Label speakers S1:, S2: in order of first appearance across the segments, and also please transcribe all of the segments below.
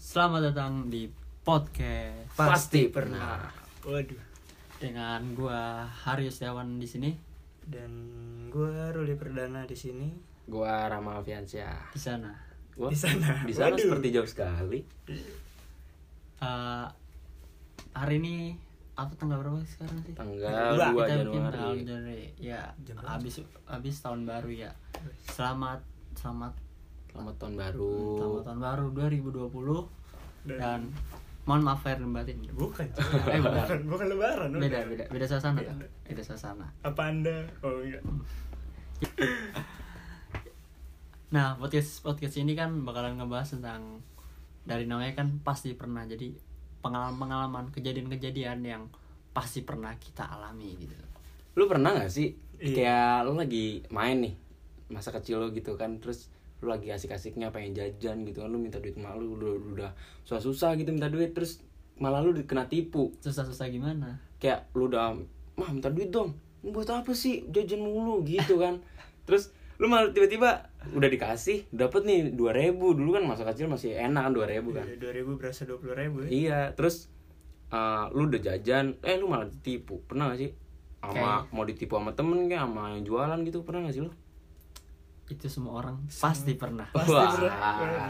S1: Selamat datang di podcast
S2: Pasti Nah, pernah.
S3: Waduh.
S1: dengan gua Haryo Setiawan di sini.
S3: Dan gua Ruli Perdana di sini.
S2: Gua Rama Alfiansyah.
S1: Di sana
S2: Gua
S3: Di sana.
S2: Di sana
S3: Waduh.
S2: seperti jauh sekali.
S1: Eh, hari ini apa tanggal berapa sih sekarang sih?
S2: Tanggal
S3: Dua.
S1: Kita
S2: 2
S1: bikin tanggal
S2: Januari.
S1: Januari. Ya,
S3: Jam berapa?
S1: habis habis tahun baru ya. Selamat selamat
S2: Selamat tahun baru.
S1: selamat tahun baru 2020 dan, mohon maaf lahir dan batin.
S3: Bukan.
S1: Eh,
S3: cuy.
S1: bukan.
S3: bukan. Bukan lebaran. udah.
S1: Beda beda beda suasana kan? Beda suasana.
S3: Apa Anda? Oh enggak.
S1: Nah, podcast podcast ini kan bakalan ngebahas tentang dari namanya kan pasti pernah. Jadi pengalaman-pengalaman, kejadian-kejadian yang pasti pernah kita alami gitu.
S2: Lu pernah gak sih
S3: Iya.
S2: kayak lu lagi main nih masa kecil lu gitu kan terus lu lagi asik-asiknya pengen jajan gitu kan lu minta duit sama lu udah, udah susah-susah gitu minta duit terus malah lu kena tipu
S1: Susah-susah gimana?
S2: kayak lu udah mah minta duit dong buat apa sih jajan mulu gitu kan terus lu malah tiba-tiba udah dikasih dapat nih dua ribu dulu kan masa kecil masih enak kan dua ribu kan
S3: Iya, 2000 berasa 20.000 ya.
S2: iya terus eh, lu udah jajan eh lu malah ditipu pernah gak sih sama mau ditipu sama temen kayak sama yang jualan gitu pernah gak sih lu
S1: Itu semua orang pasti pernah.
S3: Pasti
S2: Wah.
S3: berat.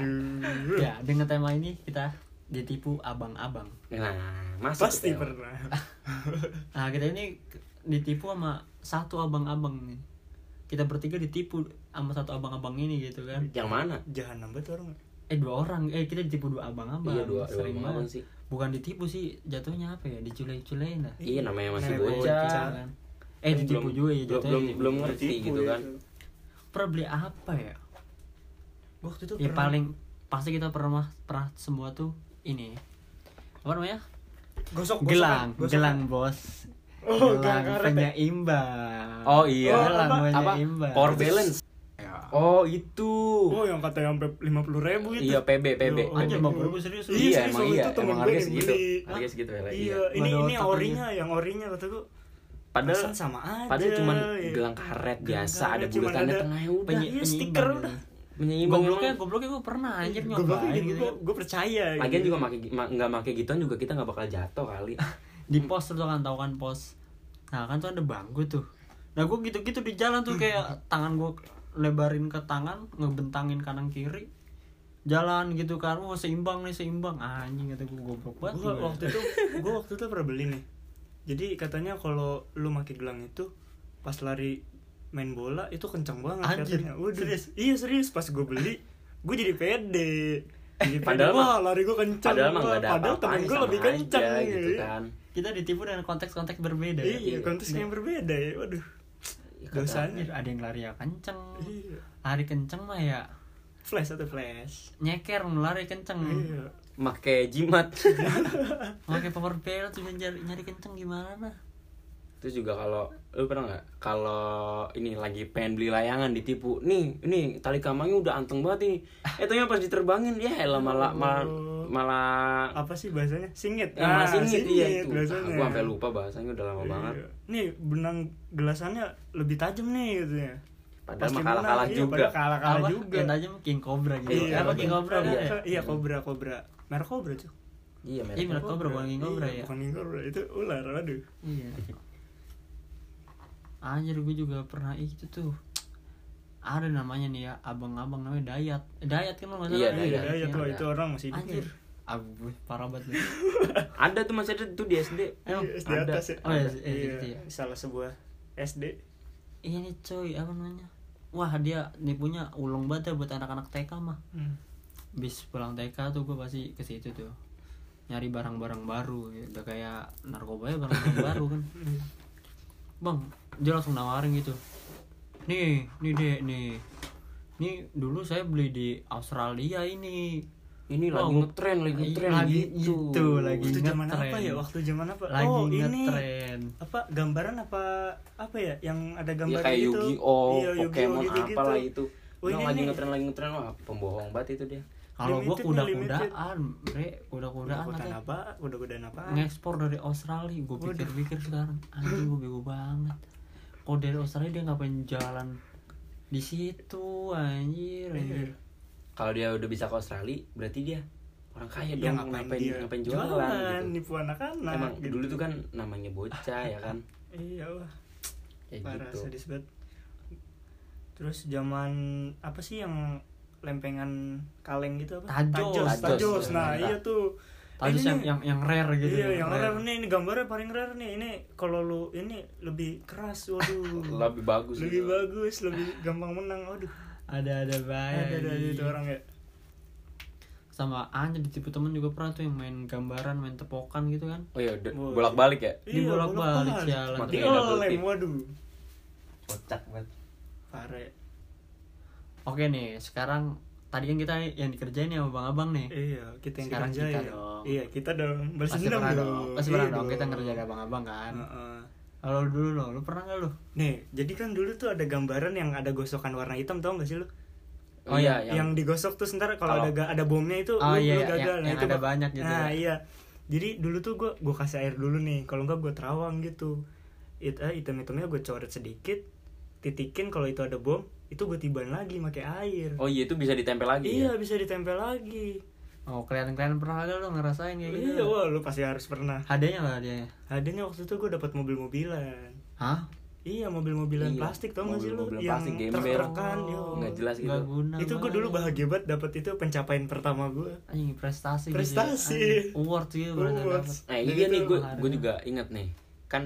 S3: Waduh.
S1: Ya, dengan tema ini kita ditipu abang-abang.
S2: nah masuk
S3: Pasti
S2: ke tema.
S3: pernah.
S1: Nah, kita ini ke- ditipu sama satu abang-abang nih. Kita bertiga ditipu sama satu abang-abang ini gitu kan.
S2: yang mana
S3: Jahanam banget orang.
S1: Eh dua orang, eh kita ditipu dua abang-abang.
S2: iya dua dua
S1: Sering
S2: abang
S1: banget.
S2: sih
S1: bukan ditipu sih jatuhnya apa ya diculai-culain lah
S2: iya namanya masih
S3: Namanya
S2: bocah
S3: bocah.
S1: Kan? eh ditipu
S2: belum-
S1: juga ya
S2: belum
S1: jatuhnya
S2: belum,
S1: ditipu.
S2: belum ngerti
S3: Tipu
S2: gitu
S3: ya.
S2: kan
S1: Pernah beli apa ya
S3: Waktu itu
S1: ya
S3: pernah.
S1: paling pasti kita pernah pernah semua tuh ini apa namanya
S2: Oh,
S3: gosok gosokan,
S1: gelang
S3: gosokan.
S1: gelang bos
S3: Oh,
S1: gelang
S3: gelang karet ya?
S1: penyeimbang
S2: oh iya
S3: Oh,
S1: gelang
S3: apa-
S2: apa
S1: penyeimbang
S2: power balance
S1: Ya.
S2: Oh itu.
S3: Oh, yang kata yang sampai 50.000 itu.
S2: Iya PB PB.
S3: gitu. Yo,
S1: Anjir,
S3: oh,
S1: 50.000 serius lu?
S2: Iya,
S3: serius,
S2: emang
S3: waktu
S2: iya,
S3: itu temen
S2: emang
S3: gue
S2: harga
S3: yang
S2: segitu.
S3: beli.
S2: Harga segitu, Bella,
S3: Iya,
S2: iya.
S3: ini
S1: Waduh,
S3: ini
S1: tapi-
S3: orinya, yang orinya kata gue.
S2: Padahal
S3: perasaan sama aja.
S2: padahal cuman
S3: ya.
S2: gelang karet biasa
S3: karet,
S2: ada
S3: cuman
S2: bulatannya
S3: ada
S2: tengahnya
S1: Penye-
S2: udah.
S3: Iya,
S1: penyeimbang
S3: stiker
S1: gitu.
S3: udah.
S2: Menyeimbang
S1: gobloknya
S2: emang.
S1: gobloknya gue pernah anjir
S3: Gue
S1: nyobain gitu,
S3: gue
S1: kan.
S3: gue percaya.
S2: Lagian
S3: gitu.
S2: juga make ma- nggak make gituan juga kita nggak bakal jatuh kali.
S1: di
S3: Hmm.
S1: pos tuh kan tau kan pos nah kan tuh ada bangku tuh nah gue gitu-gitu di jalan tuh
S3: Hmm.
S1: kayak tangan gue lebarin ke tangan ngebentangin kanan kiri jalan gitu kan wah seimbang nih seimbang Ah, anjing kata gue goblok banget
S3: Gue
S1: gua.
S3: waktu itu gue waktu itu pernah beli nih. Jadi katanya kalau lu pakai gelang itu pas lari main bola itu kencang banget
S1: Anjir,
S3: katanya. Waduh. Iya serius pas gue beli gue jadi pede. Jadi pede,
S2: Padahal
S3: wah lari gue kencang.
S2: Padahal mah
S3: wah,
S2: nggak ada
S3: Padahal
S2: apa-apaan
S3: temen gue
S2: sama
S3: lebih
S2: aja
S3: kencang
S2: gitu
S3: ya.
S2: kan.
S1: kita ditipu dengan konteks-konteks berbeda ya.
S3: Iya, konteksnya yang berbeda ya. Waduh.
S2: Ya, kata-
S3: Dosanya.
S1: Anjir, ada yang lari ya kenceng
S3: Iya.
S1: lari kenceng mah ya
S3: Flash atau flash.
S1: nyeker lari kenceng
S3: Iya.
S2: Make jimat.
S1: pakai power belt tuh nyari, nyari kenceng gimana nah
S2: Terus juga kalau lu pernah nggak kalau ini lagi pengen beli layangan ditipu. Nih, ini tali kamangnya udah anteng banget ini. Eh ternyata pas diterbangin ya elah malah malah malah
S3: Apa sih bahasanya? Singit. Ah,
S2: yang masih inget iya itu.
S3: bahasanya.
S2: Aku sampai lupa bahasanya udah lama banget.
S3: Iya. Nih benang gelasannya lebih tajam nih gitu ya.
S2: Padahal
S3: Pasti
S2: mah kalah-kalah
S3: menang, iya,
S2: juga.
S3: padahal kalah-kalah
S1: Apa?
S3: juga.
S1: yang tajam king cobra gitu
S2: Iya,
S1: apa king cobra
S3: iya,
S1: kan ya?
S3: iya, kobra kobra. Merek kobra tuh.
S2: Iya,
S1: Iya, merek kobra bukan king cobra
S3: Iya,
S1: ya.
S3: Bukan king cobra itu ular. Waduh.
S1: Iya. Anjir gue juga pernah itu tuh. Ada namanya nih ya, abang-abang namanya Dayat. Eh, Dayat kan lo nggak salah.
S2: Iya,
S3: Iya,
S2: Dayat.
S3: ya, tuh
S2: Iya.
S3: itu orang masih hidup.
S1: Anjir. Abu, parah banget. lu.
S2: Ada tuh masih ada tuh di SD.
S1: Emang?
S3: Iya, SD
S2: ada.
S3: atas ya.
S1: Oh, iya,
S3: Ada.
S1: iya, gitu ya.
S3: Salah sebuah SD.
S1: Ini coy, apa namanya? Wah dia nih punya ulung banget ya buat anak-anak TK mah.
S3: Hmm.
S1: Bis pulang TK tuh gue pasti ke situ tuh nyari barang-barang baru ya. udah kayak narkoba ya barang-barang baru kan
S3: Hmm.
S1: bang dia langsung nawarin gitu nih nih dek nih nih dulu saya beli di Australia ini
S2: Ini lagi
S1: Oh,
S2: ngetren, lagi
S1: lagi-
S2: ngetren
S1: lagi
S2: gitu.
S1: gitu, lagi.
S3: Waktu zaman
S1: Ngetren.
S3: apa ya? Waktu zaman apa?
S1: lagi
S3: oh, ini
S1: ngetren
S3: apa gambaran apa apa ya yang ada
S2: Ya
S3: gambar
S2: kayak
S3: gitu
S2: Yu-Gi-Oh,
S3: Iya, Yu-Gi-Oh
S2: Pokemon
S3: gitu-gitu.
S2: apalah itu.
S3: Oh,
S2: Nah,
S3: ini
S2: lagi
S3: nih.
S2: ngetren, lagi ngetren wah pembohong banget itu dia.
S1: kalau gua
S3: Limited nih,
S1: kuda-kudaan bre kuda-kudaan
S3: Udah-udahan
S1: katanya
S3: apa? Udah-udahan apa?
S1: ngekspor dari Australia gue pikir-pikir sekarang anjing gue bego banget kok dari Australia dia ngapain jalan di situ anjir anjir
S3: Iya.
S2: Kalau dia udah bisa ke Australia, berarti dia orang kaya
S3: yang
S2: dong
S3: Iya, ngapain,
S2: Iya, ngapain
S3: dia
S2: ngapain jualan, gitu.
S3: nipu anak-anak
S2: emang
S3: gitu.
S2: dulu tuh kan namanya bocah ya kan
S3: iya lah
S2: kayak
S3: parah
S2: gitu
S3: sadis banget terus zaman apa sih yang lempengan kaleng gitu apa
S1: Tajos.
S3: tajos,
S2: Tajos.
S3: tajos. nah
S2: Nah.
S3: iya tuh
S1: Tadi
S3: Ini
S1: yang,
S3: nih.
S1: yang yang rare gitu.
S3: iya yang rare. nih ini gambarnya paling rare nih ini kalau lu ini lebih keras waduh
S2: lebih bagus
S3: lebih
S2: gitu.
S3: bagus lebih gampang menang waduh
S1: Ada ada
S3: ada
S1: banyak.
S3: ada aja
S1: iya.
S3: itu orang ya
S1: Sama Anya ditipu temen juga pernah tuh yang main gambaran, main tepokan gitu kan.
S2: oh iya de- bolak-balik ya
S1: Ini
S3: Iya,
S1: bolak-balik,
S3: bolak-balik.
S1: sialan.
S2: Mati
S3: Dia
S2: double
S3: lem,
S2: tip.
S3: waduh
S2: kocak banget
S3: parah ya.
S1: Oke nih, sekarang tadi kan kita yang dikerjain ya sama Bang Abang nih.
S3: iya kita yang
S1: Sekarang
S3: dikerjain.
S1: kita dong.
S3: iya kita dong balas
S1: Pasti
S3: dendam
S1: pernah
S3: dong. Nah.
S1: dong, pasti
S3: Iya
S1: pernah dong kita ngerjain sama Bang Abang kan.
S3: Heeh.
S1: Kalau dulu lo, lo pernah gak lo?
S3: Nih, jadi kan dulu tuh ada gambaran yang ada gosokan warna hitam tau gak sih lu?
S2: oh iya
S3: yang, digosok terus ntar kalau
S2: Kalau-
S3: ada ga- ada bomnya itu
S1: Oh,
S3: lu, lu
S1: iya, iya,
S3: gagal.
S1: yang-
S3: nah,
S1: yang
S3: itu
S1: ada
S3: bak-
S1: banyak gitu
S3: Nah,
S1: ya.
S3: iya. Jadi dulu tuh gua gua kasih air dulu nih, kalau enggak gua terawang gitu. It, eh, item-itemnya gue coret sedikit, titikin kalau itu ada bom, itu gue tiban lagi pakai air.
S2: oh iya itu bisa ditempel lagi
S3: iya,
S2: ya?
S3: bisa ditempel lagi.
S1: Oh, kalian-kalian pernah gak lo ngerasain kayak gitu?
S3: Iya, wah lu pasti harus pernah.
S1: Hadiahnya nggak hadiahnya?
S3: Adanya waktu itu gue dapat mobil-mobilan.
S1: Hah?
S3: Iya, mobil-mobilan
S2: Iya,
S3: plastik tau gak sih lu?
S2: mobil-mobilan
S3: Yang
S2: plastik, gembel.
S3: truk-trukan, yo.
S2: Nggak jelas gitu.
S1: Nggak guna.
S3: itu gue
S1: banget.
S3: dulu bahagia banget dapat itu pencapaian pertama gue
S1: Anjing prestasi. gitu ya.
S3: Prestasi.
S1: Anjing, Award gitu baru
S3: Awards.
S1: dapat.
S2: Nah
S3: Dan
S2: iya
S3: itu
S2: nih gue
S1: ada.
S2: gue juga inget nih kan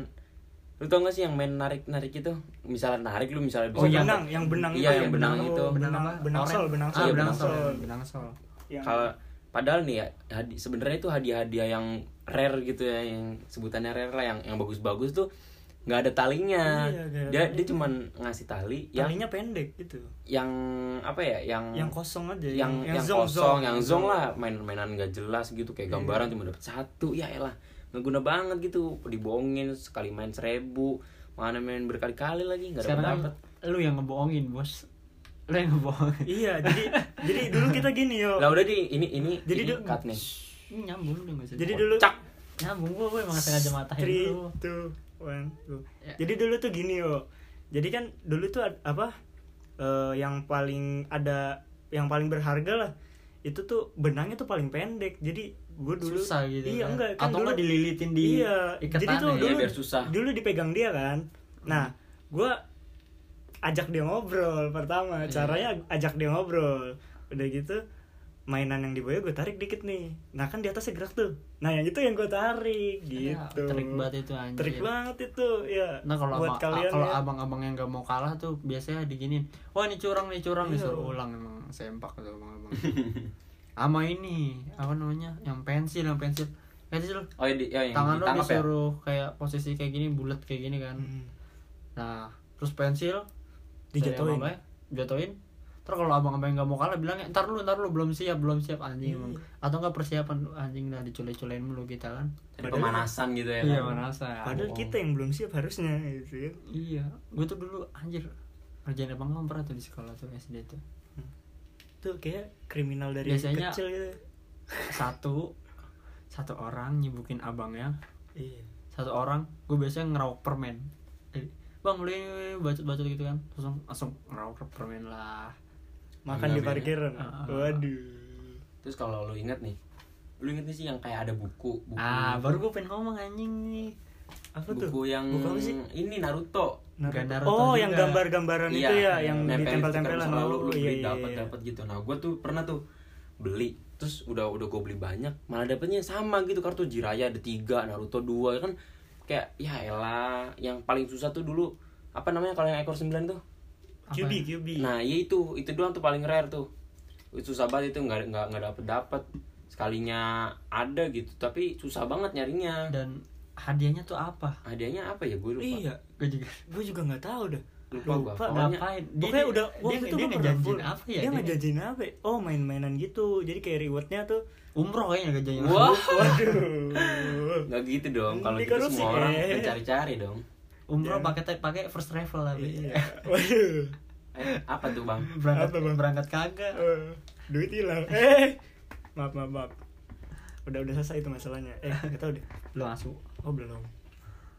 S2: lu tau gak sih yang main narik narik itu misalnya narik lu misalnya bisa
S1: Oh, iya.
S2: dapat-
S3: benang yang benang
S2: iya
S3: itu,
S2: yang benang itu
S3: benang
S1: apa?
S3: benang sol
S1: Oren.
S3: benang
S1: Ah,
S3: sol
S1: benang sol.
S3: sol.
S1: Benang sol.
S3: Yang-
S2: kalau padahal nih ya hadi- sebenarnya itu hadiah-hadiah yang rare gitu ya yang sebutannya rare lah yang yang bagus-bagus tuh nggak ada
S3: Iya,
S2: talinya
S3: nggak ada
S2: dia
S3: talinya.
S2: dia cuman ngasih tali yang
S3: talinya pendek gitu
S2: yang apa ya yang
S3: yang kosong aja gitu.
S2: yang, yang
S3: zong, zong.
S2: kosong yang zong lah main-mainan nggak jelas gitu
S3: Iya.
S2: kayak gambaran cuma dapet satu ya elah nggak guna banget gitu dibohongin sekali main seribu mana main berkali-kali lagi nggak
S1: Sekarang kan
S2: dapet
S1: lu yang ngebohongin, Bos. Lu yang ngebohongin.
S3: iya jadi jadi dulu kita gini yo
S2: lah udah di ini ini
S3: Jadi
S2: ini
S3: du-
S2: cut nih
S1: Ini nyambung lu enggak sih?
S3: jadi dulu
S2: Kocak.
S1: nyambung gua, gua emang sengaja matahin
S3: three
S1: lu.
S3: two one go.
S1: Ya.
S3: jadi dulu tuh gini yo jadi kan dulu tuh ad- apa eh, yang paling ada yang paling berharga lah itu tuh benangnya tuh paling pendek jadi gue dulu
S1: Susah gitu
S3: iya
S1: kan.
S3: enggak kan
S1: Atau
S3: dulu,
S1: enggak dililitin di
S3: iya jadi
S1: iketannya
S3: tuh
S1: ya, Hmm.
S3: dulu
S2: biar susah.
S3: dulu dipegang dia kan nah gue ajak dia ngobrol
S1: Iya.
S3: pertama caranya ajak dia ngobrol udah gitu mainan yang dibawa gue tarik dikit nih nah kan di atasnya gerak tuh nah yang itu yang gue tarik
S1: Ya,
S3: gitu
S1: trik banget itu, anjir.
S3: Trik banget itu ya
S1: Nah kalau
S3: buat
S1: abang-
S3: kalian
S1: kalau
S3: ya.
S1: abang-abang yang gak mau kalah tuh biasanya diginin, wah ini curang nih curang
S3: Iya.
S1: disuruh ulang emang sempak tuh abang-abang. Sama ini apa namanya yang pensil yang pensil pensil
S2: oh iya, di- ya, yang
S1: tangan lo
S2: ditangkap ya
S1: disuruh kayak posisi kayak gini bulat kayak gini kan.
S3: Hmm.
S1: Nah terus pensil dari
S3: Dijatuhin.
S1: abang-abangnya, jatuhin. Terus kalau abang-abang yang gak mau kalah bilangnya ntar lu ntar lu belum siap belum siap anjing emang. atau nggak persiapan lu, anjing lah dicule-culein mulu kita kan.
S2: Jadi pemanasan gitu ya
S1: Iya
S2: kan?
S1: merasa.
S3: Padahal kita yang belum siap harusnya gitu ya.
S1: Iya, gue tuh dulu anjir kerjaan abang abang pernah tuh di sekolah tuh SD tuh
S3: Tuh kayak kriminal dari
S1: Biasanya-
S3: kecil gitu.
S1: satu satu orang nyibukin abangnya
S3: Iya.
S1: satu orang gue biasanya ngeraup permen Jadi, bang beli bacot bacot gitu kan terus langsung langsung ngeraup permen lah
S3: Makan di
S2: Iya,
S3: parkiran.
S1: Ah.
S3: Waduh.
S2: terus kalau lu inget nih lu inget nih sih yang kayak ada buku buku
S1: ah baru gue pengen ngomong anjing nih
S3: Apa tuh?
S2: buku yang
S3: Buku apa sih?
S2: ini Naruto
S1: Bukan Naruto
S3: oh, yang
S1: juga.
S3: gambar-gambaran itu ya, yang
S2: nempel
S3: ditempel-tempelan.
S2: stiker, misalnya lu, lu
S3: Oh,
S2: beli
S3: iya, iya,
S2: dapat
S3: iya.
S2: dapat gitu nah gue tuh pernah tuh beli terus udah udah gue beli banyak malah dapetnya sama gitu kartu Jiraya ada tiga Naruto dua kan kayak ya elah yang paling susah tuh dulu apa namanya kalau yang ekor sembilan tuh
S1: Apa
S3: QB,
S1: ya?
S3: QB.
S2: nah iya itu itu doang tuh paling rare tuh susah banget itu nggak nggak nggak dapet dapet sekalinya ada gitu tapi susah banget nyarinya
S1: dan hadiahnya tuh apa
S2: hadiahnya apa ya gue lupa
S3: Iya,
S1: gue juga
S3: gue juga nggak tahu dah.
S2: Lupa gua. Pokoknya-
S1: ngapain
S3: Pokoknya udah waktu
S1: dia,
S3: itu
S1: dia
S3: gue pernah
S1: ngejanjin
S3: full.
S1: apa ya
S3: Dia
S1: dia,
S3: ngejanjin apa? ya? Oh, main-mainan gitu. Jadi kayak rewardnya tuh.
S1: umroh kayaknya ngejanjin
S2: Wah.
S3: Waduh.
S2: nggak gitu dong kalau gitu
S3: Dikorupsi,
S2: semua orang
S3: eh.
S2: mencari-cari dong
S1: umroh pakai pakai first travel lah Be.
S3: Iya. Waduh.
S2: eh, apa tuh bang
S1: berangkat
S3: Apa, Bang?
S1: berangkat kagak
S3: Eh, duit hilang. Eh. Maaf, maaf, maaf. Udah udah selesai itu masalahnya. Eh, enggak tahu deh.
S1: lu asu
S3: Oh, belum.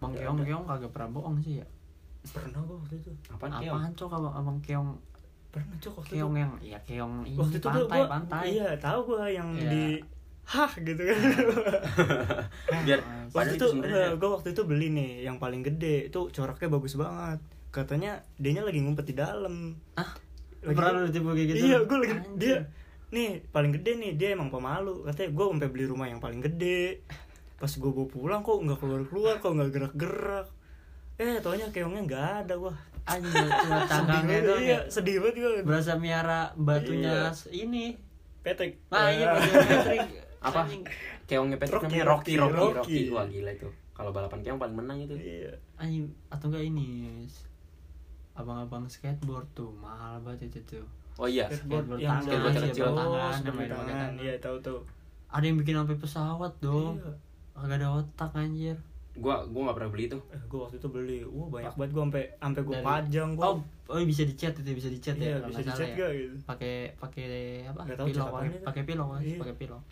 S1: bang keong keong kagak pernah bohong sih ya
S3: Pernah gua waktu itu.
S2: apa nih
S1: apaan cok abang abang keong
S3: Pernah cok waktu itu.
S1: keong yang ya keong ini
S3: Waktu itu tuh
S1: pantai
S3: gua-
S1: pantai
S3: Iya, tahu gua yang
S1: Iya.
S3: di hah gitu kan
S2: biar
S3: waktu itu
S2: padahal
S3: eh,
S2: itu sebenarnya
S1: ya?
S3: gue waktu itu beli nih yang paling gede itu coraknya bagus banget katanya dianya lagi ngumpet di dalam
S1: ah
S3: Lagi-
S1: pernah lu tipu kayak gitu
S3: iya gue lagi
S1: Anjing.
S3: dia nih paling gede nih dia emang pemalu katanya gue sampai beli rumah yang paling gede pas gue bawa pulang kok nggak keluar keluar kok nggak gerak gerak eh taunya keongnya nggak ada wah
S1: anjing cuma tangannya
S3: Sedih
S1: doang
S3: banget, iya,
S1: ya
S3: sedih banget gue
S1: berasa miara batunya
S2: Iya.
S1: s- ini
S3: petek
S1: nah iya
S3: Ah.
S1: batunya Patrick
S2: apa
S1: Anjing.
S2: keongnya Patrick
S3: Rocky,
S2: namanya
S3: Rocky,
S2: Rocky Rocky
S3: Rocky.
S2: Rocky wah gila itu kalau balapan keong paling menang itu
S3: iya
S1: anjing atau enggak ini s- abang-abang skateboard tuh mahal banget itu tuh
S2: oh iya
S1: Skateboard
S3: yang
S1: tangan,
S2: skateboard
S3: kecil.
S2: kecil.
S3: Oh,
S1: Tangan,
S3: skateboard
S1: main pakai
S3: tangan
S1: tangan.
S3: iya tahu tahu
S1: ada yang bikin sampai pesawat dong
S3: Iya.
S1: agak ada otak anjir
S2: gua gua nggak pernah beli itu
S3: eh, gue waktu itu beli wah banyak banget gue sampai sampai gue
S1: Dari-
S3: pajang gue
S1: oh, oh bisa dicat itu bisa dicat
S3: iya
S1: ya kalau
S3: bisa
S1: nggak
S3: dicat
S1: salah ya.
S3: gak gitu
S1: pakai pakai apa
S3: Nggak tahu
S1: pilok
S3: cat
S1: pakai-
S3: apaan itu.
S1: pakai pilok Mas.
S3: Iya.
S1: pakai pilok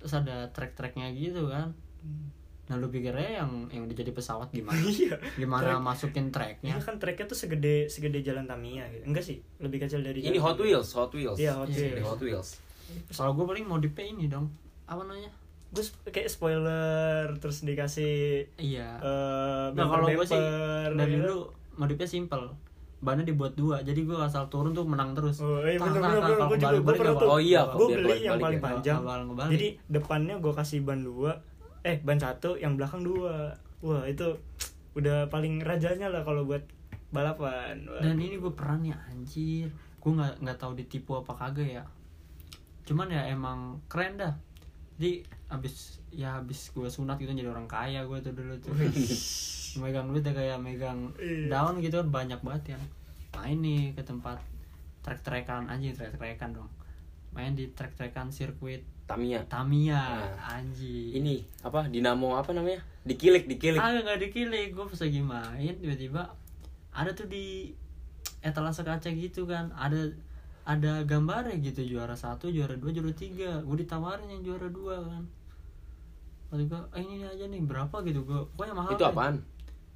S1: terus ada track-tracknya gitu kan
S3: Hmm.
S1: nah lu pikirnya yang yang udah jadi pesawat gimana
S3: iya
S1: gimana
S3: Track.
S1: masukin
S3: Iya
S1: tracknya
S3: kan treknya tuh segede segede jalan Tamiya gitu. Enggak sih, lebih kecil dari
S2: ini
S3: jalan
S2: Hot
S3: Tamiya.
S2: Wheels Hot Wheels
S3: Iya, Hot
S1: Iya.
S2: Ini
S3: Wheels.
S2: Hot Wheels
S1: kalau gue paling modifnya ini dong apa namanya
S3: Gue sp- kayak spoiler terus dikasih
S1: iya
S3: eh
S1: nah kalau gue sih
S3: bumper-bumper,
S1: dari
S3: gitu.
S1: dulu modifnya simple bannya dibuat dua jadi gue asal turun tuh menang terus
S3: Oh, iya
S1: Tang,
S3: bener bener bener
S1: tang, tang, kalau
S3: gue juga gue
S1: kebalik,
S3: pernah
S1: nggak
S3: tuh.
S2: Oh iya, kok
S3: gue
S2: biar
S3: beli yang
S2: balik-balik
S3: paling
S2: ya.
S3: panjang.
S1: Ngebalik, ngebalik.
S3: Jadi depannya gue kasih ban dua, eh ban satu, yang belakang dua. Wah itu udah paling rajanya lah kalau buat balapan. Wah.
S1: dan ini gue pernah nih anjir gue nggak nggak tahu ditipu apa kagak ya cuman ya emang keren dah jadi abis ya abis gue sunat gitu jadi orang kaya gue tuh dulu tuh megang duit ya kayak megang
S3: Iya.
S1: daun gitu kan banyak banget yang main nih ke tempat trek trekan anjing trek trekan dong main di trek trekan sirkuit
S2: Tamiya
S1: Tamiya
S2: Nah.
S1: anjing
S2: ini apa dinamo apa namanya dikilik dikilik
S3: Ah,
S1: agak nggak dikilik gue pas lagi main tiba-tiba ada tuh di etalase kaca gitu kan ada ada gambarnya gitu juara satu juara dua juara tiga gue ditawarin yang juara dua kan lalu gue eh, ini aja nih berapa gitu gue pokoknya mahal
S2: itu
S1: deh.
S2: apaan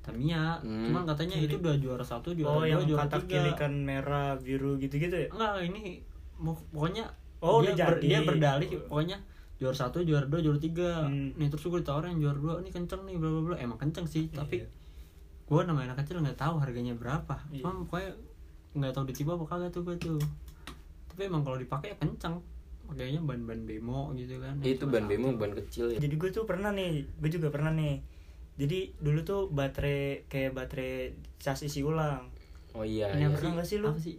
S1: Tamiya
S2: Hmm.
S1: cuman katanya itu udah juara satu juara
S3: Oh
S1: dua
S3: yang
S1: juara
S3: kata
S1: tiga
S3: kilikan merah biru gitu-gitu ya?
S1: enggak ini mo- pokoknya
S3: Oh,
S1: dia,
S3: udah
S1: ber-
S3: jadi.
S1: dia berdalih pokoknya juara satu juara dua juara tiga
S3: Hmm.
S1: nih terus gue ditawarin juara dua ini kenceng nih bla bla bla emang kenceng sih tapi
S3: Iya.
S1: gue namanya anak kecil nggak tahu harganya berapa
S3: Iya.
S1: cuma pokoknya nggak tahu ditiba apa kagak tuh gue tuh tapi emang kalau dipakai ya kenceng pakainya ban-ban bemo gitu kan
S2: itu ban bemo ban kecil ya
S3: Jadi gue tuh pernah nih, gue juga pernah nih. Jadi dulu tuh baterai kayak baterai cas isi ulang,
S2: oh iya
S1: ini
S2: iya.
S1: apa
S3: Pernah
S1: sih
S3: nggak sih lu?
S1: Apa sih?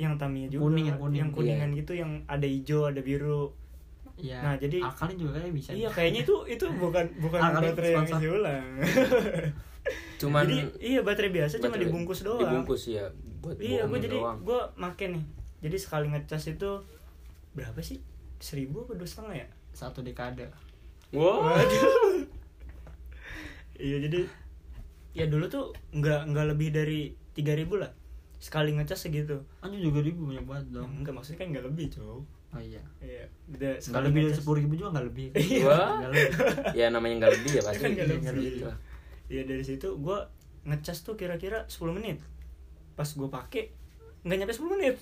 S3: yang Tamiya juga,
S1: Kuning, yang kuning.
S3: kuningan
S2: Iya.
S3: gitu, yang ada hijau ada biru.
S1: ya
S3: Nah, jadi-
S1: alkalin juga kayaknya bisa
S3: Iya kayaknya itu itu bukan bukan
S1: Ah, kali
S3: baterai yang
S1: sponsor.
S3: isi ulang.
S2: cuman
S3: jadi iya baterai biasa cuma
S2: baterai-
S3: dibungkus doang.
S2: dibungkus ya buat
S3: Iya gue
S2: bohongin
S3: jadi
S2: doang.
S3: gue make nih. Jadi sekali ngecas itu berapa sih? Seribu apa dua setengah ya?
S1: satu dekade
S2: Wah.
S3: Waduh. iya jadi ya dulu tuh nggak nggak lebih dari 3000 lah sekali ngecas segitu
S1: anjir juga ribu banyak banget dong
S3: enggak maksudnya kan nggak lebih cow
S1: oh iya
S3: iya udah
S1: nggak lebih dari
S3: ngecas.
S1: sepuluh ribu juga nggak lebih
S3: Iya.
S2: Wah.
S1: Nggak lebih.
S2: ya namanya nggak lebih ya pasti
S3: Kan nggak
S2: Iya,
S3: lebih.
S2: gitu lah.
S3: iya dari situ gue ngecas tuh kira-kira 10 menit pas gue pakai nggak nyampe 10 menit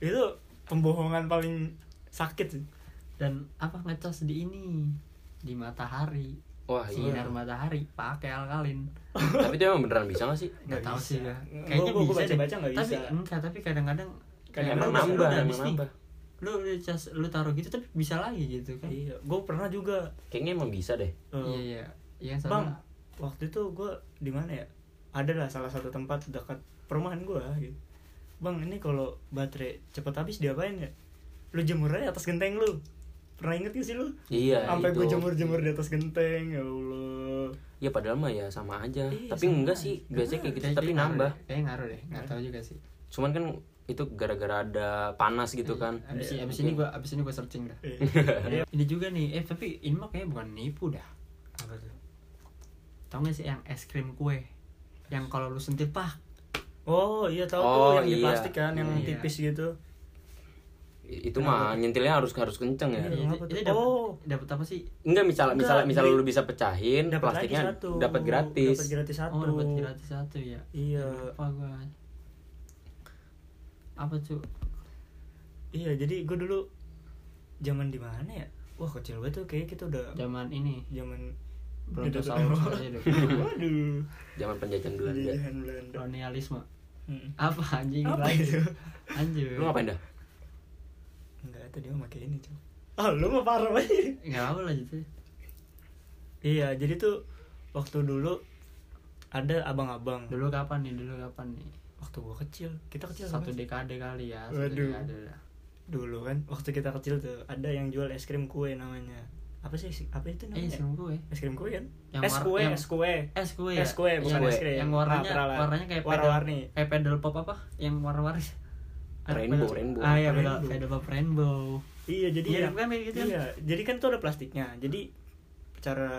S3: itu pembohongan paling sakit sih
S1: dan apa ngecas di ini di matahari
S2: wah iya
S1: sinar matahari pakai alkalin
S2: tapi itu emang beneran bisa nggak sih
S1: nggak
S3: Nggak
S1: tahu
S3: bisa.
S1: sih ya
S3: Nggak,
S1: kayaknya
S3: gua- gua
S1: bisa deh.
S3: baca-baca nggak
S1: tapi
S3: bisa.
S1: enggak tapi kadang-kadang
S3: Kadang-kadang
S1: kayak
S2: emang
S1: lu udah-
S2: nambah
S1: lu udah
S2: emang
S1: habis nih.
S2: nambah
S1: lu udah cas lu taruh gitu tapi bisa lagi gitu kan
S3: iya gue pernah juga
S2: kayaknya emang bisa deh
S3: eh,
S1: iya iya yang
S3: bang
S1: sama
S3: waktu itu gue di mana ya ada lah salah satu tempat dekat perumahan gue gitu bang ini kalau baterai cepet habis diapain ya lu jemur aja atas genteng lu pernah inget gak sih lu
S2: iya
S3: sampai
S2: itu.
S3: gue jemur-jemur di atas genteng ya allah
S2: ya padahal mah ya sama aja
S3: Iya,
S2: tapi
S3: sama
S2: enggak
S3: aja.
S2: sih biasanya kayak gitu
S1: Kayaknya
S2: tapi
S1: ngaruh
S2: nambah
S1: deh. kayaknya ngaruh deh
S3: Iya.
S1: nggak tahu juga sih
S2: cuman kan itu gara-gara ada panas gitu kan
S1: abis,
S3: Iya,
S1: abis
S2: mungkin.
S1: ini gua abis ini gua searching dah
S3: Eh,
S1: ini juga nih eh tapi ini mah kayaknya bukan nipu dah
S3: apa tuh?
S1: tau gak sih yang es krim kue yang kalau lu sentil pak
S3: oh iya tahu
S2: Oh,
S3: tuh yang di
S2: iya.
S3: plastik kan yang
S1: Iya.
S3: tipis gitu
S2: itu mah nyentilnya harus harus kenceng ya
S3: Iya.
S1: itu,
S3: apa tuh?
S1: itu dapat
S3: Oh.
S1: dapat apa sih
S2: enggak misalnya
S3: Enggak,
S2: misalnya misalnya
S3: beli-
S2: lu bisa pecahin
S3: Dapat lagi
S2: plastiknya
S3: satu.
S2: dapat gratis
S3: dapat gratis satu
S1: Oh dapat gratis satu ya.
S3: iya
S1: Apa gua? Apa cuy?
S3: iya jadi gue dulu zaman di mana ya wah kecil banget tuh kayak kita udah
S1: zaman ini
S3: zaman
S1: Brontosaurus aja deh.
S3: waduh
S2: zaman penjajahan Belanda
S3: penjajahan Belanda
S1: kolonialisme
S3: Mm.
S1: Hmm. apa anjing
S3: apa
S1: lagi?
S3: itu
S1: anjir
S2: lu ngapain dah
S3: enggak itu dia pakai ini coba ah lu mah parah banget
S1: nggak apa lah gitu
S3: iya jadi tuh waktu dulu ada abang-abang
S1: dulu kapan nih dulu kapan nih
S3: waktu gua kecil kita kecil
S1: satu
S3: kan?
S1: dekade kali ya satu
S3: Waduh.
S1: dekade lah.
S3: dulu kan waktu kita kecil tuh ada yang jual es krim kue namanya apa sih apa itu
S1: eh
S3: namanya
S1: sebelum gue
S3: es krim kue kan
S1: Yang
S3: es
S1: war-
S3: kue
S1: yang-
S3: es kue
S1: es kue ya?
S3: es kue
S1: Iya,
S3: bukan
S2: kue.
S3: es krim
S1: yang warnanya
S3: Ah, peralat.
S1: warnanya kayak
S3: warna-warni
S1: pedal- kayak pedal pop apa yang warna-warni Ada
S2: Rainbow,
S1: pedal-
S2: rainbow.
S1: ah iya pedal
S3: Rainbow.
S1: pedal pop rainbow
S3: iya jadi
S1: Mirip
S3: ya-
S1: kan, mirip gitu kan?
S3: iya jadi kan tuh ada plastiknya jadi cara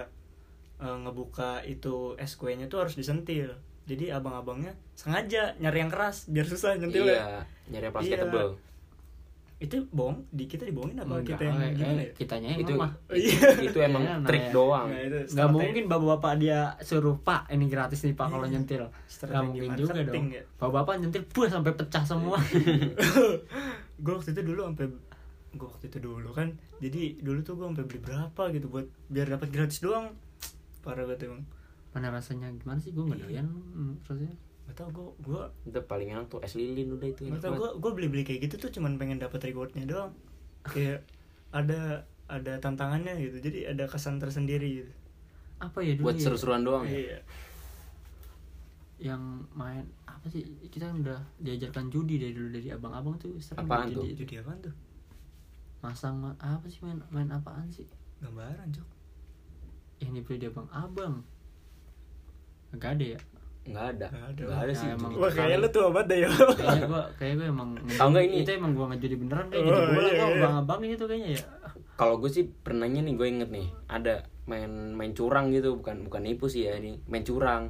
S3: eh, ngebuka itu es kuenya tuh harus disentil jadi abang-abangnya sengaja nyari yang keras biar susah nyentilnya
S2: iya nyari yang plastik
S3: ya? Iya.
S2: tebel
S3: itu bohong di kita dibohongin apa Nah,
S1: Enggak, eh,
S3: kita yang
S1: kayak-
S3: gimana
S1: kayak
S3: ya?
S1: kitanya yang
S2: itu
S1: lemah
S2: itu, itu emang
S1: Iya, nah,
S2: trik
S1: ya.
S2: doang
S3: Nah, itu
S1: nggak
S3: strategi-
S1: mungkin bapak-bapak dia suruh pak ini gratis nih pak kalau
S3: Iya.
S1: nyentil nggak
S3: Strategi
S1: mungkin juga
S3: marketing
S1: dong
S3: ya.
S1: bapak-bapak nyentil buah sampai pecah semua
S3: Iya. gue waktu itu dulu sampai gue waktu itu dulu kan jadi dulu tuh gue sampai beli berapa gitu buat biar dapat gratis doang parah banget emang
S1: mana rasanya gimana sih gue nggak doyan hmm, rasanya
S3: gak tau gue gue
S2: itu paling enak tuh es lilin udah itu
S3: gak
S2: enak
S3: tau
S2: banget.
S3: gue gue beli beli kayak gitu tuh cuman pengen dapat rewardnya doang kayak ada ada tantangannya gitu jadi ada kesan tersendiri gitu
S1: apa ya dulu
S2: buat
S1: ya?
S2: seru-seruan doang ya
S3: iya
S1: yang main apa sih kita kan udah diajarkan judi dari dulu dari abang-abang tuh sering
S2: Apaan
S1: judi itu.
S2: tuh?
S3: jadi Iya. apaan tuh
S1: masang ma- apa sih main main apaan sih
S3: gambaran cok
S1: yang dibeli di abang-abang Gak ada ya
S2: nggak ada
S3: Nggak ada.
S2: nggak ada
S1: Ya,
S2: sih itu.
S1: emang.
S3: wah kayaknya lu tua banget deh ya
S1: kayaknya gua kayak gua emang
S2: Tau nggak ini?
S1: itu emang gua ngejudi beneran kayak
S3: Oh,
S1: jadi bola
S3: iya,
S1: gua
S3: iya.
S1: abang-abang itu kayaknya ya
S2: kalau gue sih pernahnya nih gue inget nih ada main main curang gitu bukan bukan nipu sih ya ini main curang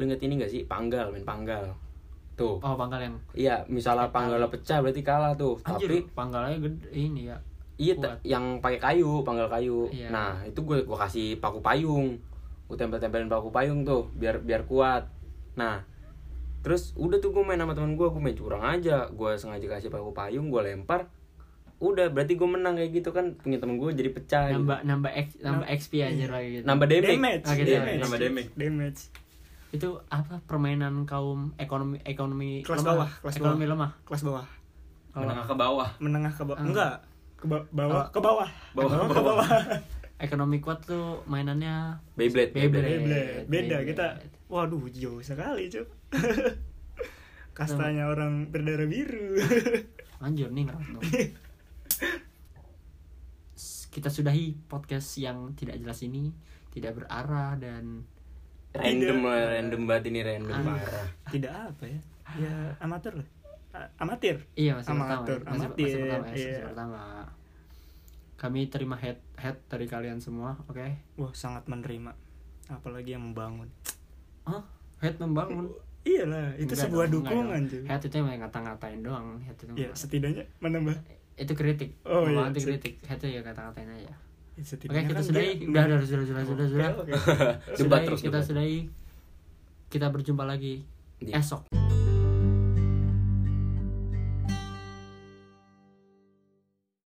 S2: lu inget ini gak sih panggal main panggal tuh
S1: oh pangkal yang
S2: iya misalnya panggalnya pecah berarti kalah tuh
S1: anjir
S2: tapi
S1: pangkalnya gede ini ya
S2: iya te-
S1: kuat.
S2: yang pakai kayu panggal kayu
S1: Iya.
S2: nah itu gue gue kasih paku payung gue tempel-tempelin paku payung tuh biar biar kuat nah terus udah tuh gue main sama temen gue gue main curang aja gue sengaja kasih paku payung gue lempar udah berarti gue menang kayak gitu kan punya temen gue jadi pecah gitu.
S1: nambah nambah X, nambah XP anjir lagi gitu
S2: nambah damage,
S3: damage
S1: Oke,
S2: damage.
S1: damage.
S2: nambah damage
S3: damage
S1: itu apa permainan kaum ekonomi ekonomi
S3: Kelas
S1: lemah.
S3: bawah, kelas
S1: ekonomi lemah
S3: kelas bawah
S1: kalau
S2: menengah ke bawah
S3: menengah ke bawah
S1: Ah.
S3: enggak ke ba- bawah ke bawah
S2: Bawah,
S3: Menengah ke
S2: bawah.
S3: bawah
S1: ekonomi kuat tuh mainannya
S2: Beyblade
S1: Beyblade.
S3: Beyblade. beda
S1: Beyblade.
S3: kita waduh jauh sekali cuy kastanya orang berdarah biru
S1: anjir nih ngeras dong. S- kita sudahi podcast yang tidak jelas ini tidak berarah dan
S2: random
S3: Tidak.
S2: eh, random banget ini random
S1: Ah.
S2: parah
S3: tidak apa ya ya amatir lah A- amatir
S1: iya masih pertama
S3: Amatur,
S1: ya. masih, masih
S3: amatir,
S1: pertama ya, masih
S3: iya.
S1: pertama kami terima head head dari kalian semua oke
S3: wah sangat menerima apalagi yang membangun
S1: Hah? head membangun
S3: iyalah itu
S1: Enggak
S3: sebuah
S1: dong, enggak
S3: dukungan
S1: dong.
S3: cuy
S1: head itu yang ngata-ngatain doang head itu
S3: ya
S1: nggak-
S3: setidaknya menambah ya,
S1: itu kritik
S3: Oh, iya,
S1: Memang itu
S3: sip.
S1: kritik head itu ya ngata-ngatain aja
S3: Ya,
S1: oke
S3: setidaknya
S1: kita
S3: kan
S1: sudahi
S3: dia-
S1: udah udah sudah sudah sudah
S3: Oke,
S1: sudah
S3: oke.
S2: debat
S1: Sudahi,
S2: terus
S1: kita
S2: debat.
S1: sudahi kita berjumpa lagi
S2: Di-
S1: esok